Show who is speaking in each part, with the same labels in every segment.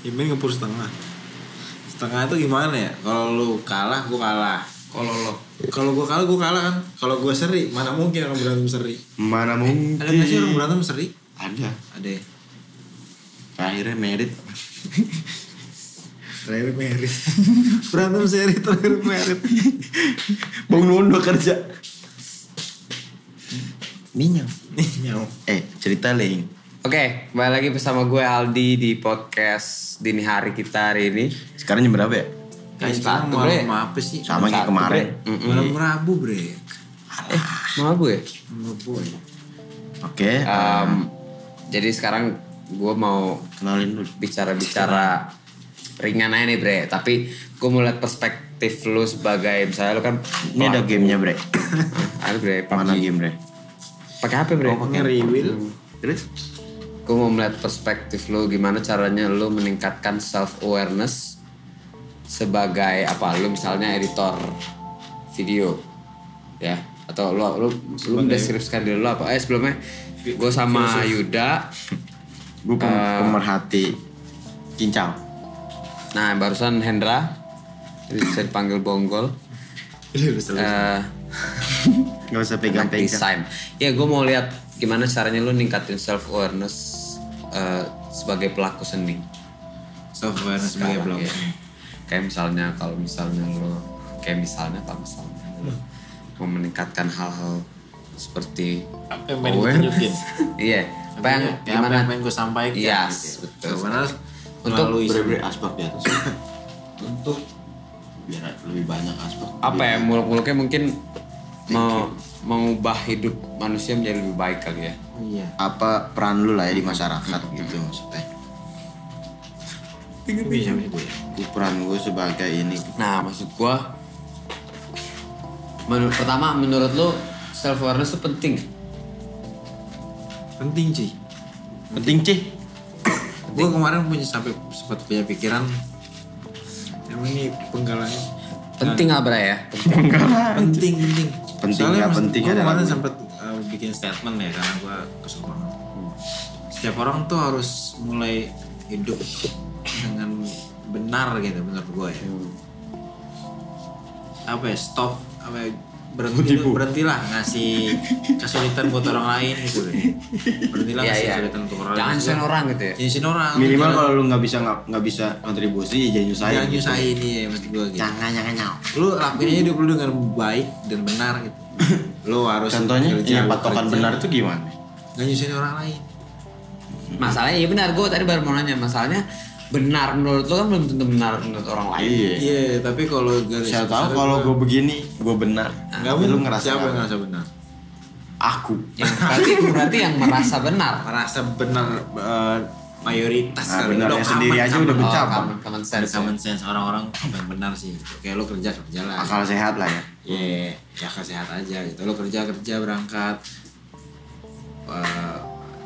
Speaker 1: Iben ngepur setengah. Setengah itu gimana ya? Kalau lu kalah, gua kalah.
Speaker 2: Kalau lo
Speaker 1: Kalau gua kalah, gua kalah kan. Kalau gua seri, mana mungkin orang berantem seri?
Speaker 2: mana mungkin?
Speaker 1: Ada nggak sih orang berantem seri?
Speaker 2: Ada.
Speaker 1: Ada. ya?
Speaker 2: Akhirnya merit.
Speaker 1: Terakhir merit. berantem seri terakhir merit.
Speaker 2: Bang Nono kerja. Minyak.
Speaker 1: Nyaw.
Speaker 2: Eh cerita lagi.
Speaker 3: Oke, kembali lagi bersama gue Aldi di podcast dini hari kita hari ini.
Speaker 2: Sekarang jam berapa ya?
Speaker 3: Kayak
Speaker 1: Kayak
Speaker 3: sepatu,
Speaker 1: malam
Speaker 3: Bre.
Speaker 1: apa sih?
Speaker 2: Sama kayak kemarin.
Speaker 3: Mm-mm.
Speaker 1: Malam Rabu, Bre.
Speaker 3: Eh, mau gue?
Speaker 1: Sama boy.
Speaker 2: Oke.
Speaker 3: Em, jadi sekarang gue mau
Speaker 2: kenalin dulu.
Speaker 3: bicara-bicara ringan aja nih bre. Tapi gue mau liat perspektif lu sebagai misalnya lu kan
Speaker 2: Ini ada gamenya bre.
Speaker 3: ada bre,
Speaker 2: Mana Oh,
Speaker 3: PUBG.
Speaker 2: game bre?
Speaker 3: Pakai HP bre.
Speaker 1: Ngeriwil.
Speaker 2: Terus?
Speaker 3: Gue mau melihat perspektif lu gimana caranya lu meningkatkan self awareness sebagai apa lu misalnya editor video ya atau lu lu, lu mendeskripsikan diri lu apa eh sebelumnya gue sama Yuda
Speaker 2: Gue pemerhati cincau.
Speaker 3: nah barusan Hendra bisa dipanggil Bonggol
Speaker 1: Ini Iya, udah selesai.
Speaker 3: eh
Speaker 2: Gak usah
Speaker 3: anak
Speaker 2: pegang-pegang.
Speaker 3: desain ya gue mau lihat gimana caranya lu ningkatin self awareness eh, sebagai pelaku seni
Speaker 1: Software sebagai
Speaker 3: Sekarang,
Speaker 1: blog.
Speaker 3: ya. Kayak misalnya kalau misalnya lo kayak misalnya kalau misalnya lo mau meningkatkan hal-hal seperti
Speaker 1: Apa yang pengen
Speaker 3: aware-
Speaker 1: ditunjukin?
Speaker 3: Iya. Apa yang
Speaker 1: Maksudnya, ya,
Speaker 3: gimana?
Speaker 1: apa yang pengen gue sampaikan
Speaker 3: Iya,
Speaker 1: gitu.
Speaker 3: betul.
Speaker 1: Karena
Speaker 3: Untuk
Speaker 1: melalui
Speaker 2: Bre bre asbak di atas. Untuk biar lebih banyak asbak.
Speaker 3: Apa ya muluk-muluknya mungkin mau mengubah hidup manusia menjadi lebih baik kali ya.
Speaker 1: iya
Speaker 2: Apa peran lu lah ya di masyarakat gitu maksudnya?
Speaker 1: iya gue
Speaker 2: Itu peran gue sebagai ini
Speaker 3: Nah, maksud gua menurut pertama menurut lo self awareness itu penting.
Speaker 1: penting sih
Speaker 2: penting cih
Speaker 1: gue kemarin punya sampai sempat punya pikiran emang ini penggalannya
Speaker 3: Penting
Speaker 1: Nah.
Speaker 3: abra ya.
Speaker 1: penting penting
Speaker 2: Penting nggak penting
Speaker 1: gue
Speaker 2: ada
Speaker 1: kemarin
Speaker 2: lagunya.
Speaker 1: sempat eh, bikin statement ya karena gue kesel banget setiap orang tuh harus mulai hidup dengan benar gitu menurut gue ya apa ya stop apa ya, berhenti berhentilah ngasih kesulitan buat orang lain gitu deh. berhentilah
Speaker 3: Iya,
Speaker 1: ngasih
Speaker 3: iya.
Speaker 1: kesulitan untuk orang
Speaker 3: Jangan
Speaker 1: lain
Speaker 3: nyusahin orang gitu ya.
Speaker 1: jangan orang
Speaker 2: minimal kalau lu nggak bisa nggak nggak bisa kontribusi ya
Speaker 1: jangan,
Speaker 2: jangan nyusahin Nah.
Speaker 1: jangan nyusahin nih ya maksud gue gitu
Speaker 2: jangan jangan nyau
Speaker 1: lu lakuin aja hidup lu dengan baik dan benar gitu lu harus
Speaker 2: contohnya
Speaker 1: bekerja,
Speaker 2: ya
Speaker 1: lu
Speaker 2: patokan
Speaker 1: kerja.
Speaker 2: benar itu gimana
Speaker 1: Gak nyusahin orang lain
Speaker 3: Masalahnya iya benar, gue tadi baru mau nanya masalahnya benar menurut lo kan belum tentu benar menurut orang lain.
Speaker 1: Iya,
Speaker 2: iya
Speaker 1: tapi kalau garis
Speaker 2: saya tahu
Speaker 1: besar
Speaker 2: kalau
Speaker 1: gua-
Speaker 2: gue begini gue benar
Speaker 1: nggak
Speaker 2: tapi lu
Speaker 1: mungkin.
Speaker 2: ngerasa
Speaker 1: siapa
Speaker 2: nggak
Speaker 1: yang ngerasa benar?
Speaker 2: aku
Speaker 3: Yang Ya, berarti berarti yang merasa benar.
Speaker 1: Merasa benar eh, mayoritas
Speaker 2: Nah,
Speaker 1: kali.
Speaker 2: benar,
Speaker 1: Udah
Speaker 2: yang sendiri
Speaker 1: common,
Speaker 2: aja
Speaker 1: common.
Speaker 2: udah
Speaker 3: Oh,
Speaker 2: Bercabang.
Speaker 3: common, common
Speaker 1: Ada
Speaker 3: sense. ya.
Speaker 1: common sense orang-orang apa yang benar sih gitu. Kayak lo kerja kerja lah
Speaker 2: akal sehat lah ya
Speaker 1: Iya, ya akal sehat aja gitu lo kerja kerja berangkat Eh,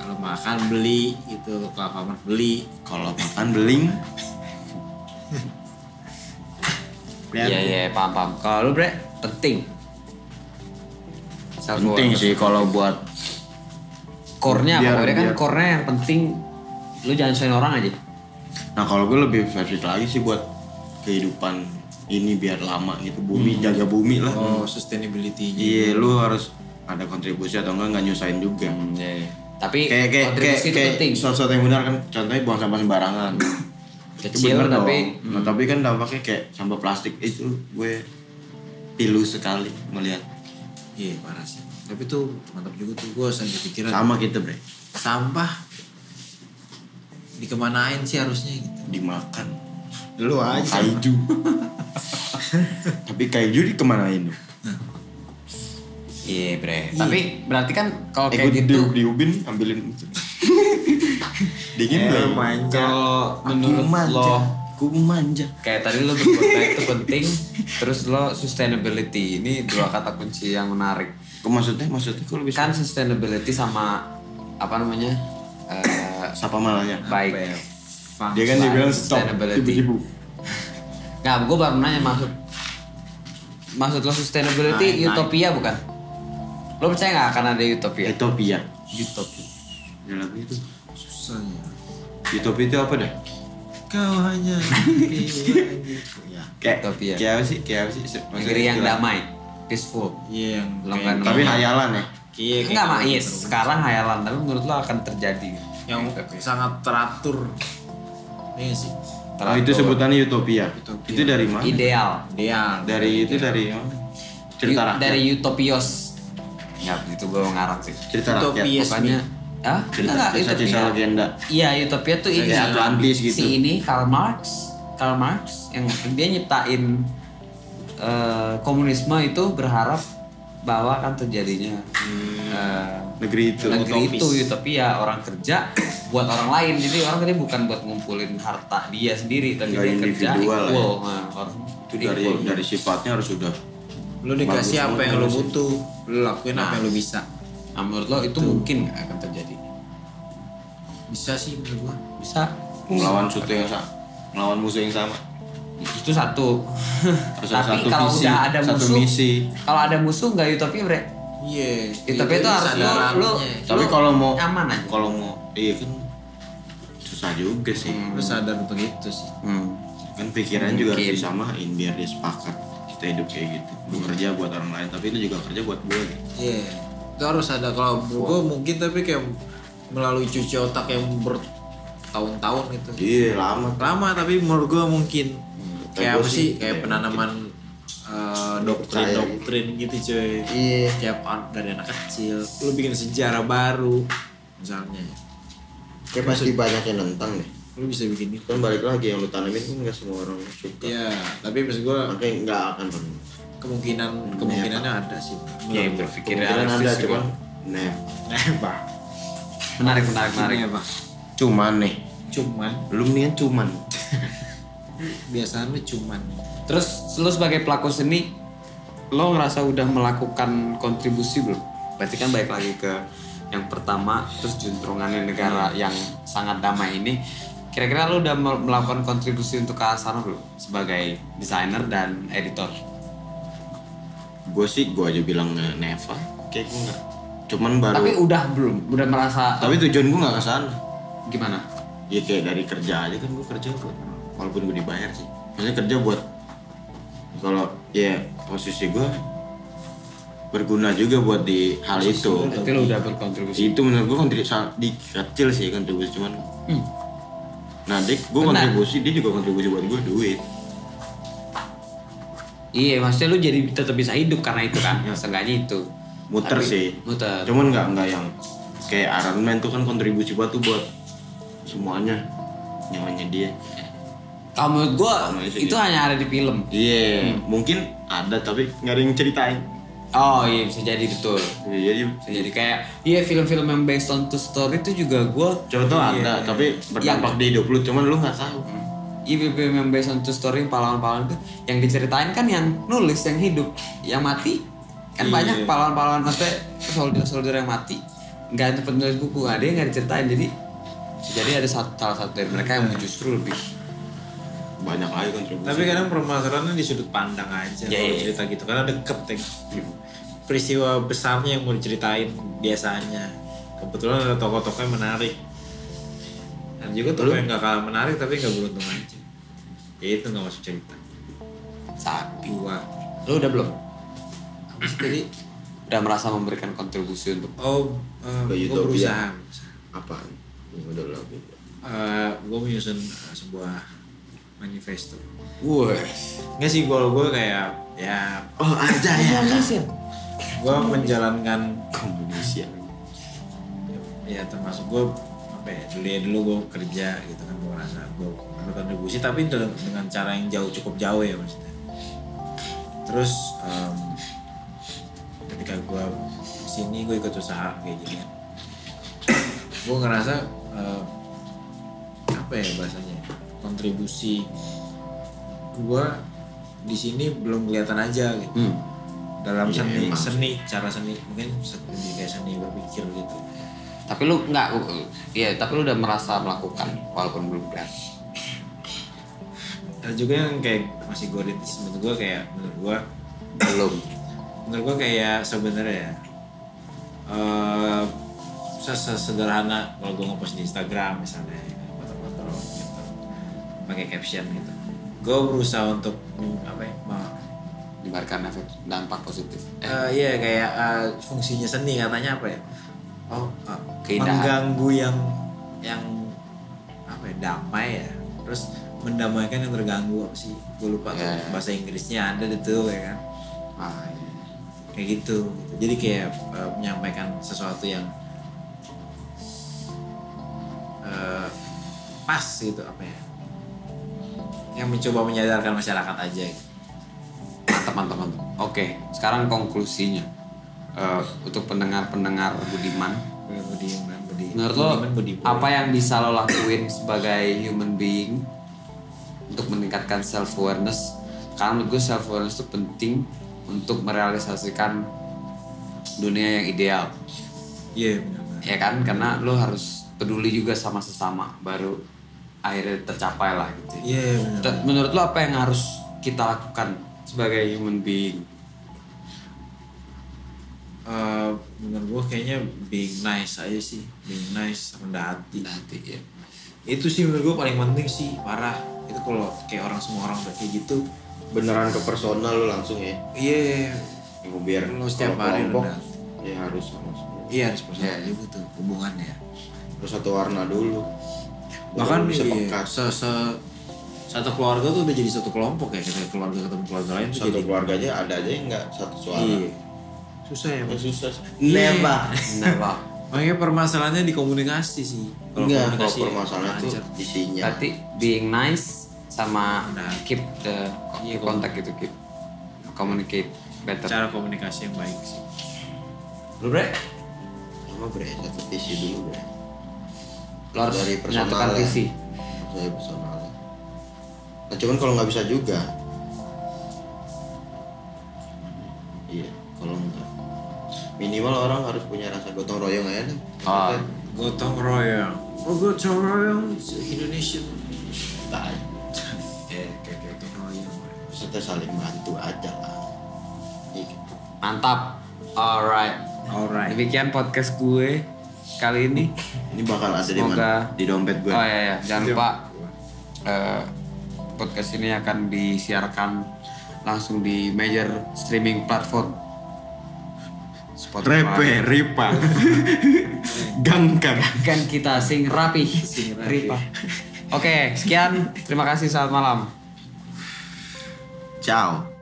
Speaker 1: kalau makan beli gitu kalau kamar beli
Speaker 2: kalau makan beling
Speaker 3: ya. Iya iya paham paham. Kalau lu bre penting. Self
Speaker 2: penting
Speaker 3: awareness.
Speaker 2: sih kalau buat
Speaker 3: Core-nya apa?
Speaker 2: Biar-
Speaker 3: Bre? kan
Speaker 2: biar.
Speaker 3: core-nya yang penting lu jangan nyusahin orang aja.
Speaker 2: nah kalau gue lebih spesifik lagi sih buat kehidupan ini biar lama gitu
Speaker 3: Hmm.
Speaker 2: bumi jaga bumi lah
Speaker 1: oh sustainability
Speaker 2: Iya, lu harus ada kontribusi atau enggak nggak nyusahin juga.
Speaker 3: Tapi
Speaker 2: iya, Kayak kayak kayak,
Speaker 3: Hmm. kontribusi itu
Speaker 2: kayak
Speaker 3: penting.
Speaker 2: sesuatu yang benar kan, contohnya buang sampah sembarangan. Itu
Speaker 3: Hmm. Kecil
Speaker 2: benar
Speaker 3: tapi hmm.
Speaker 2: dong. Nah, tapi kan dampaknya kayak sampah plastik eh, itu gue pilu sekali melihat.
Speaker 1: Iya parah sih. Tapi tuh mantap juga tuh gue sampai pikiran
Speaker 2: Sama kita, Bre.
Speaker 1: sampah dikemanain sih harusnya gitu.
Speaker 2: Dimakan.
Speaker 1: Lu
Speaker 2: Kaiju. tapi kaiju dikemanain? lu?
Speaker 3: iya bre. Tapi berarti kan kalau
Speaker 2: eh, gue
Speaker 3: kayak gitu
Speaker 2: di, diubin ambilin itu. Dingin
Speaker 1: Eh,
Speaker 2: belum?
Speaker 3: ya,
Speaker 1: manja.
Speaker 3: kalau
Speaker 2: Aku
Speaker 3: menurut
Speaker 2: manja.
Speaker 3: lo
Speaker 2: Aku manja.
Speaker 3: kayak tadi lo berbuat baik itu penting terus lo sustainability ini dua kata kunci yang menarik
Speaker 2: Kok maksudnya? Maksudnya kok lu bisa?
Speaker 3: kan sustainability sama apa namanya eh,
Speaker 2: Siapa malahnya?
Speaker 3: baik
Speaker 1: Apa ya? Fun.
Speaker 2: Dia kan
Speaker 3: Baik,
Speaker 2: dibilang stop
Speaker 3: Ah, sustainability.
Speaker 2: tiba-tiba.
Speaker 3: nggak gue baru nanya maksud maksud lo sustainability
Speaker 1: Naik, naik.
Speaker 3: utopia bukan lo percaya nggak akan ada utopia
Speaker 2: Ethiopia. Utopia. Ada lagu itu.
Speaker 1: Susah ya.
Speaker 2: Utopia itu apa dah?
Speaker 1: kau hanya mimpi lagi.
Speaker 2: ya.
Speaker 3: Kayak- Utopia.
Speaker 2: kayak apa sih kayak apa sih Maksudnya
Speaker 3: negeri yang
Speaker 2: istilah-
Speaker 3: damai peaceful
Speaker 1: Iya yang
Speaker 3: Longgar.
Speaker 2: tapi hayalan ya
Speaker 1: Iya, kayak
Speaker 3: enggak mak
Speaker 1: gitu.
Speaker 3: yes sekarang hayalan tapi menurut lo akan terjadi
Speaker 1: yang
Speaker 3: Tapi-
Speaker 1: sangat teratur. Iya sih.
Speaker 2: oh, itu
Speaker 3: Teratur.
Speaker 2: sebutannya utopia.
Speaker 1: Utopia.
Speaker 2: itu dari mana
Speaker 3: ideal
Speaker 1: Dia
Speaker 2: dari itu dari oh, cerita
Speaker 3: Iya.
Speaker 2: rakyat
Speaker 3: Yu- dari utopios nggak itu gue ngarang sih
Speaker 2: cerita
Speaker 1: Utopia.
Speaker 2: rakyat
Speaker 1: Yes,
Speaker 3: pokoknya ah
Speaker 2: cerita
Speaker 3: enggak
Speaker 2: kisah-kisah
Speaker 3: utopia
Speaker 2: legenda
Speaker 3: iya utopia tuh ini
Speaker 2: Kayak Atlantis gitu.
Speaker 3: si ini Karl Marx Karl Marx yang dia nyiptain eh, komunisme itu berharap bahwa akan terjadinya eh,
Speaker 2: negeri itu
Speaker 3: negeri
Speaker 1: utopis.
Speaker 3: itu utopia orang kerja buat orang lain jadi orang kerja bukan buat ngumpulin harta dia sendiri tapi
Speaker 2: Nggak
Speaker 3: dia kerja
Speaker 2: individual lah ya.
Speaker 3: equal Nah, orang
Speaker 2: itu dari
Speaker 3: equal.
Speaker 2: dari sifatnya harus sudah
Speaker 1: lu dikasih
Speaker 2: Bagus,
Speaker 1: apa yang lu
Speaker 2: bagus.
Speaker 1: butuh, lu lakuin apa
Speaker 3: Nah.
Speaker 1: yang lu bisa.
Speaker 3: Nah, menurut lo itu mungkin nggak akan terjadi
Speaker 1: Bisa sih menurut gua.
Speaker 3: bisa
Speaker 2: melawan suatu yang sama melawan musuh yang sama
Speaker 3: itu satu
Speaker 2: Harus ada
Speaker 3: tapi
Speaker 2: satu
Speaker 3: kalau
Speaker 2: visi,
Speaker 3: udah ada
Speaker 2: satu
Speaker 3: musuh
Speaker 2: misi.
Speaker 3: kalau ada musuh nggak utopia bre
Speaker 1: Iya.
Speaker 3: utopia itu harus lo lo
Speaker 2: tapi
Speaker 3: lo
Speaker 2: kalau mau
Speaker 3: aman aja
Speaker 2: kalau mau iya kan susah juga sih
Speaker 1: lu sadar untuk itu sih.
Speaker 3: Hmm.
Speaker 2: kan pikiran juga harus
Speaker 3: Mungkin.
Speaker 2: disamain biar dia sepakat kita hidup kayak gitu gue kerja buat orang lain tapi itu juga kerja buat gue gitu.
Speaker 1: Iya. Itu harus ada kalau menurut gua mungkin tapi kayak melalui cuci otak yang bertahun-tahun gitu.
Speaker 2: iya lama
Speaker 1: Lama tapi menurut gua mungkin
Speaker 2: kata
Speaker 1: kayak
Speaker 2: Hmm, gua
Speaker 1: apa
Speaker 2: sih,
Speaker 1: sih? Kayak
Speaker 2: kayak
Speaker 1: penanaman eh, doktrin-doktrin gitu coy.
Speaker 3: iya
Speaker 1: Tiap an- dari anak kecil lu bikin sejarah baru misalnya.
Speaker 2: kayak pasti banyak yang nentang deh
Speaker 1: Lu bisa bikin itu.
Speaker 2: kan balik lagi yang lu tanamin kan nggak semua orang suka
Speaker 1: Iya, tapi maksud gua
Speaker 2: makanya nggak akan pernah
Speaker 1: kemungkinan kemungkinannya ada sih
Speaker 2: Iya,
Speaker 3: ya berpikir
Speaker 2: Kemungkinan ada
Speaker 3: realistis
Speaker 2: cuman
Speaker 3: juga.
Speaker 2: nah
Speaker 1: nebak
Speaker 3: menarik menarik menarik
Speaker 1: nebak
Speaker 2: cuman nih
Speaker 1: cuman
Speaker 2: lu mendingan cuman
Speaker 1: biasanya lu cuman
Speaker 3: Terus lo sebagai pelaku seni, lo ngerasa udah melakukan kontribusi belum? Berarti kan balik lagi ke yang pertama, terus juntrungannya negara
Speaker 2: Iya.
Speaker 3: yang sangat damai ini. Kira-kira lo udah mel- melakukan kontribusi untuk ke arah sana belum? Sebagai desainer dan editor.
Speaker 2: gue sih gue aja bilang ne- never kayak gue nggak cuman baru
Speaker 3: Tapi
Speaker 2: tapi,
Speaker 3: udah belum? Udah merasa
Speaker 2: tujuan gue nggak kesana
Speaker 3: gimana?
Speaker 2: ya kayak dari kerja aja kan gue kerja buat walaupun gue dibayar sih maksudnya kerja buat kalau ya posisi gue berguna juga buat di hal itu
Speaker 3: Berarti lo udah berkontribusi.
Speaker 2: itu menurut gue kontribusi di kecil sih kontribusi cuman
Speaker 3: Hmm.
Speaker 2: nah dik gue
Speaker 3: Benar.
Speaker 2: kontribusi dia juga kontribusi buat gue duit
Speaker 3: Iya, maksudnya lo jadi tetap bisa hidup karena itu kan? Seenggaknya itu.
Speaker 2: muter
Speaker 3: Tapi-
Speaker 2: sih Eh,
Speaker 3: Muter.
Speaker 2: cuman nggak nggak yang kayak Iron Man tuh kan kontribusi buat tuh buat semuanya nyawanya dia
Speaker 3: Kalau menurut gue,
Speaker 2: Sama aja
Speaker 3: itu
Speaker 2: dia.
Speaker 3: hanya ada di film.
Speaker 2: iya mungkin ada tapi nggak ada yang ceritain
Speaker 3: Oh iya bisa jadi betul.
Speaker 2: Iya, jadi
Speaker 3: Bisa jadi kayak iya film-film yang based on true story itu juga gue
Speaker 2: contoh ada tapi berdampak di hidup lu cuman lu nggak tahu
Speaker 3: iya film yang based on true story yang pahlawan-pahlawan itu yang diceritain kan yang nulis yang hidup yang mati kan banyak pahlawan-pahlawan maksudnya soldier-soldier yang mati nggak cepet nulis buku nggak ada yang nggak diceritain jadi jadi ada satu, salah satu dari mereka yang justru lebih
Speaker 2: banyak lagi kontribusi
Speaker 1: tapi kadang permasalahannya di sudut pandang aja
Speaker 3: Iya,
Speaker 1: kalau
Speaker 3: iya.
Speaker 1: cerita gitu karena deket ya. peristiwa besarnya yang mau diceritain biasanya kebetulan ada tokoh-tokoh yang menarik dan juga tokoh yang gak kalah menarik tapi gak beruntung aja ya itu gak masuk cerita
Speaker 3: sapi
Speaker 1: dua
Speaker 3: lo udah belum
Speaker 1: Apa sih tadi
Speaker 3: udah merasa memberikan kontribusi untuk
Speaker 1: oh eh,
Speaker 2: Ke
Speaker 1: gue
Speaker 2: Utopia.
Speaker 1: berusaha
Speaker 2: apa Ini udah lah
Speaker 1: gue menyusun eh, sebuah manifesto
Speaker 3: wah
Speaker 1: Nggak sih kalau gue kayak ya
Speaker 2: oh ada ya
Speaker 1: gue menjalankan
Speaker 2: Indonesia
Speaker 1: ya termasuk gue apa ya dulu ya dulu gue kerja gitu kan gue ngerasa gue berkontribusi tapi dengan, dengan cara yang jauh cukup jauh ya maksudnya terus em, ketika gue sini gue ikut usaha kayak gini kan gue ngerasa eh, apa ya bahasanya kontribusi gue di sini belum kelihatan aja gitu
Speaker 3: hmm.
Speaker 1: dalam
Speaker 2: Iya,
Speaker 1: seni
Speaker 2: emang.
Speaker 1: seni cara seni mungkin lebih kayak seni berpikir gitu
Speaker 3: tapi lu nggak iya tapi lu udah merasa melakukan walaupun belum kelihatan
Speaker 1: ada juga yang kayak masih gue rintis menurut gue kayak menurut gue
Speaker 3: belum
Speaker 1: menurut gue kayak sebenarnya ya eh, ses- sesederhana kalau gue ngepost di Instagram misalnya ya, foto-foto gitu pakai caption gitu gue berusaha untuk mm, apa ya mau-
Speaker 3: menyebarkan efek dampak positif
Speaker 1: Eh,
Speaker 3: eh,
Speaker 1: iya kayak eh, fungsinya seni katanya apa ya? Oh, eh,
Speaker 3: Keindahan.
Speaker 1: mengganggu yang yang apa ya? Damai ya. Terus mendamaikan yang terganggu apa sih? Gue lupa tuh,
Speaker 3: Ya, ya.
Speaker 1: bahasa Inggrisnya ada itu ya kan.
Speaker 3: ah, iya.
Speaker 1: Kayak gitu. gitu. Jadi kayak eh, menyampaikan sesuatu yang eh, pas gitu apa ya? Yang mencoba menyadarkan masyarakat aja. Gitu.
Speaker 3: mantap mantap mantap oke sekarang konklusinya Eh, untuk pendengar-pendengar budiman
Speaker 1: Budiman, Budi-
Speaker 3: menurut lo
Speaker 1: Budiman, Budiman.
Speaker 3: apa yang bisa lo lakuin sebagai human being untuk meningkatkan self awareness karena menurut gue self awareness itu penting untuk merealisasikan dunia yang ideal
Speaker 1: Iya benar.
Speaker 3: ya kan karena lo harus peduli juga sama sesama baru akhirnya tercapai lah gitu
Speaker 1: Iya benar.
Speaker 3: Dan menurut lo apa yang harus kita lakukan sebagai human being?
Speaker 1: Eh, menurut gue kayaknya being nice aja sih being nice rendah hati
Speaker 3: Nanti ya.
Speaker 1: itu sih menurut gue paling penting sih parah itu kalau kayak orang semua orang udah kayak gitu
Speaker 2: beneran ke personal lu langsung ya
Speaker 1: iya
Speaker 2: Yang biar
Speaker 1: Lu setiap
Speaker 2: kalau
Speaker 1: hari
Speaker 2: kelompok,
Speaker 1: rendah.
Speaker 2: ya harus langsung
Speaker 1: iya harus personal
Speaker 3: Iya.
Speaker 1: juga tuh hubungannya
Speaker 2: harus satu warna dulu
Speaker 1: bahkan
Speaker 2: Baru bisa
Speaker 1: iya,
Speaker 2: pekat
Speaker 1: se, se- satu keluarga tuh udah jadi satu kelompok ya kita keluarga ketemu keluarga lain tuh
Speaker 2: satu
Speaker 1: jadi
Speaker 2: keluarganya ada aja yang nggak satu suara
Speaker 1: iya susah ya
Speaker 2: Nggak
Speaker 1: Mas.
Speaker 2: susah sih.
Speaker 1: Iya.
Speaker 3: Kenapa?
Speaker 1: makanya permasalahannya di komunikasi sih
Speaker 2: Enggak, kalau
Speaker 1: komunikasi
Speaker 2: permasalahan itu
Speaker 1: lancar.
Speaker 2: isinya
Speaker 3: Berarti being nice sama
Speaker 1: Nah.
Speaker 3: keep the
Speaker 1: Iya,
Speaker 3: keep contact itu keep communicate better.
Speaker 1: cara komunikasi yang baik sih
Speaker 3: Lu bre,
Speaker 2: sama bre satu visi dulu bre
Speaker 3: lo harus
Speaker 2: Dari personal
Speaker 3: menyatukan
Speaker 2: ya.
Speaker 3: visi.
Speaker 2: saya personal ya. nah cuman kalau nggak bisa juga iya kalau nggak minimal orang harus punya rasa gotong royong ya deh.
Speaker 3: Ah.
Speaker 1: gotong royong oh gotong royong it's Indonesian
Speaker 2: Tai.
Speaker 1: ya kayak kayak gotong royong
Speaker 2: kita saling bantu aja lah Iya gitu.
Speaker 3: Mantap. Alright.
Speaker 1: alright
Speaker 3: Demikian podcast gue kali ini.
Speaker 2: ini bakal ada di
Speaker 3: Semoga-
Speaker 2: mana di dompet gue
Speaker 3: Oh iya, iya. jangan lupa eh, podcast ini akan disiarkan langsung di major streaming platform. Spotify.
Speaker 2: Ripa Gangkan
Speaker 3: Kan kita sing rapi. Sing
Speaker 1: rapi.
Speaker 3: Oke, sekian. Terima kasih. Selamat malam.
Speaker 2: Ciao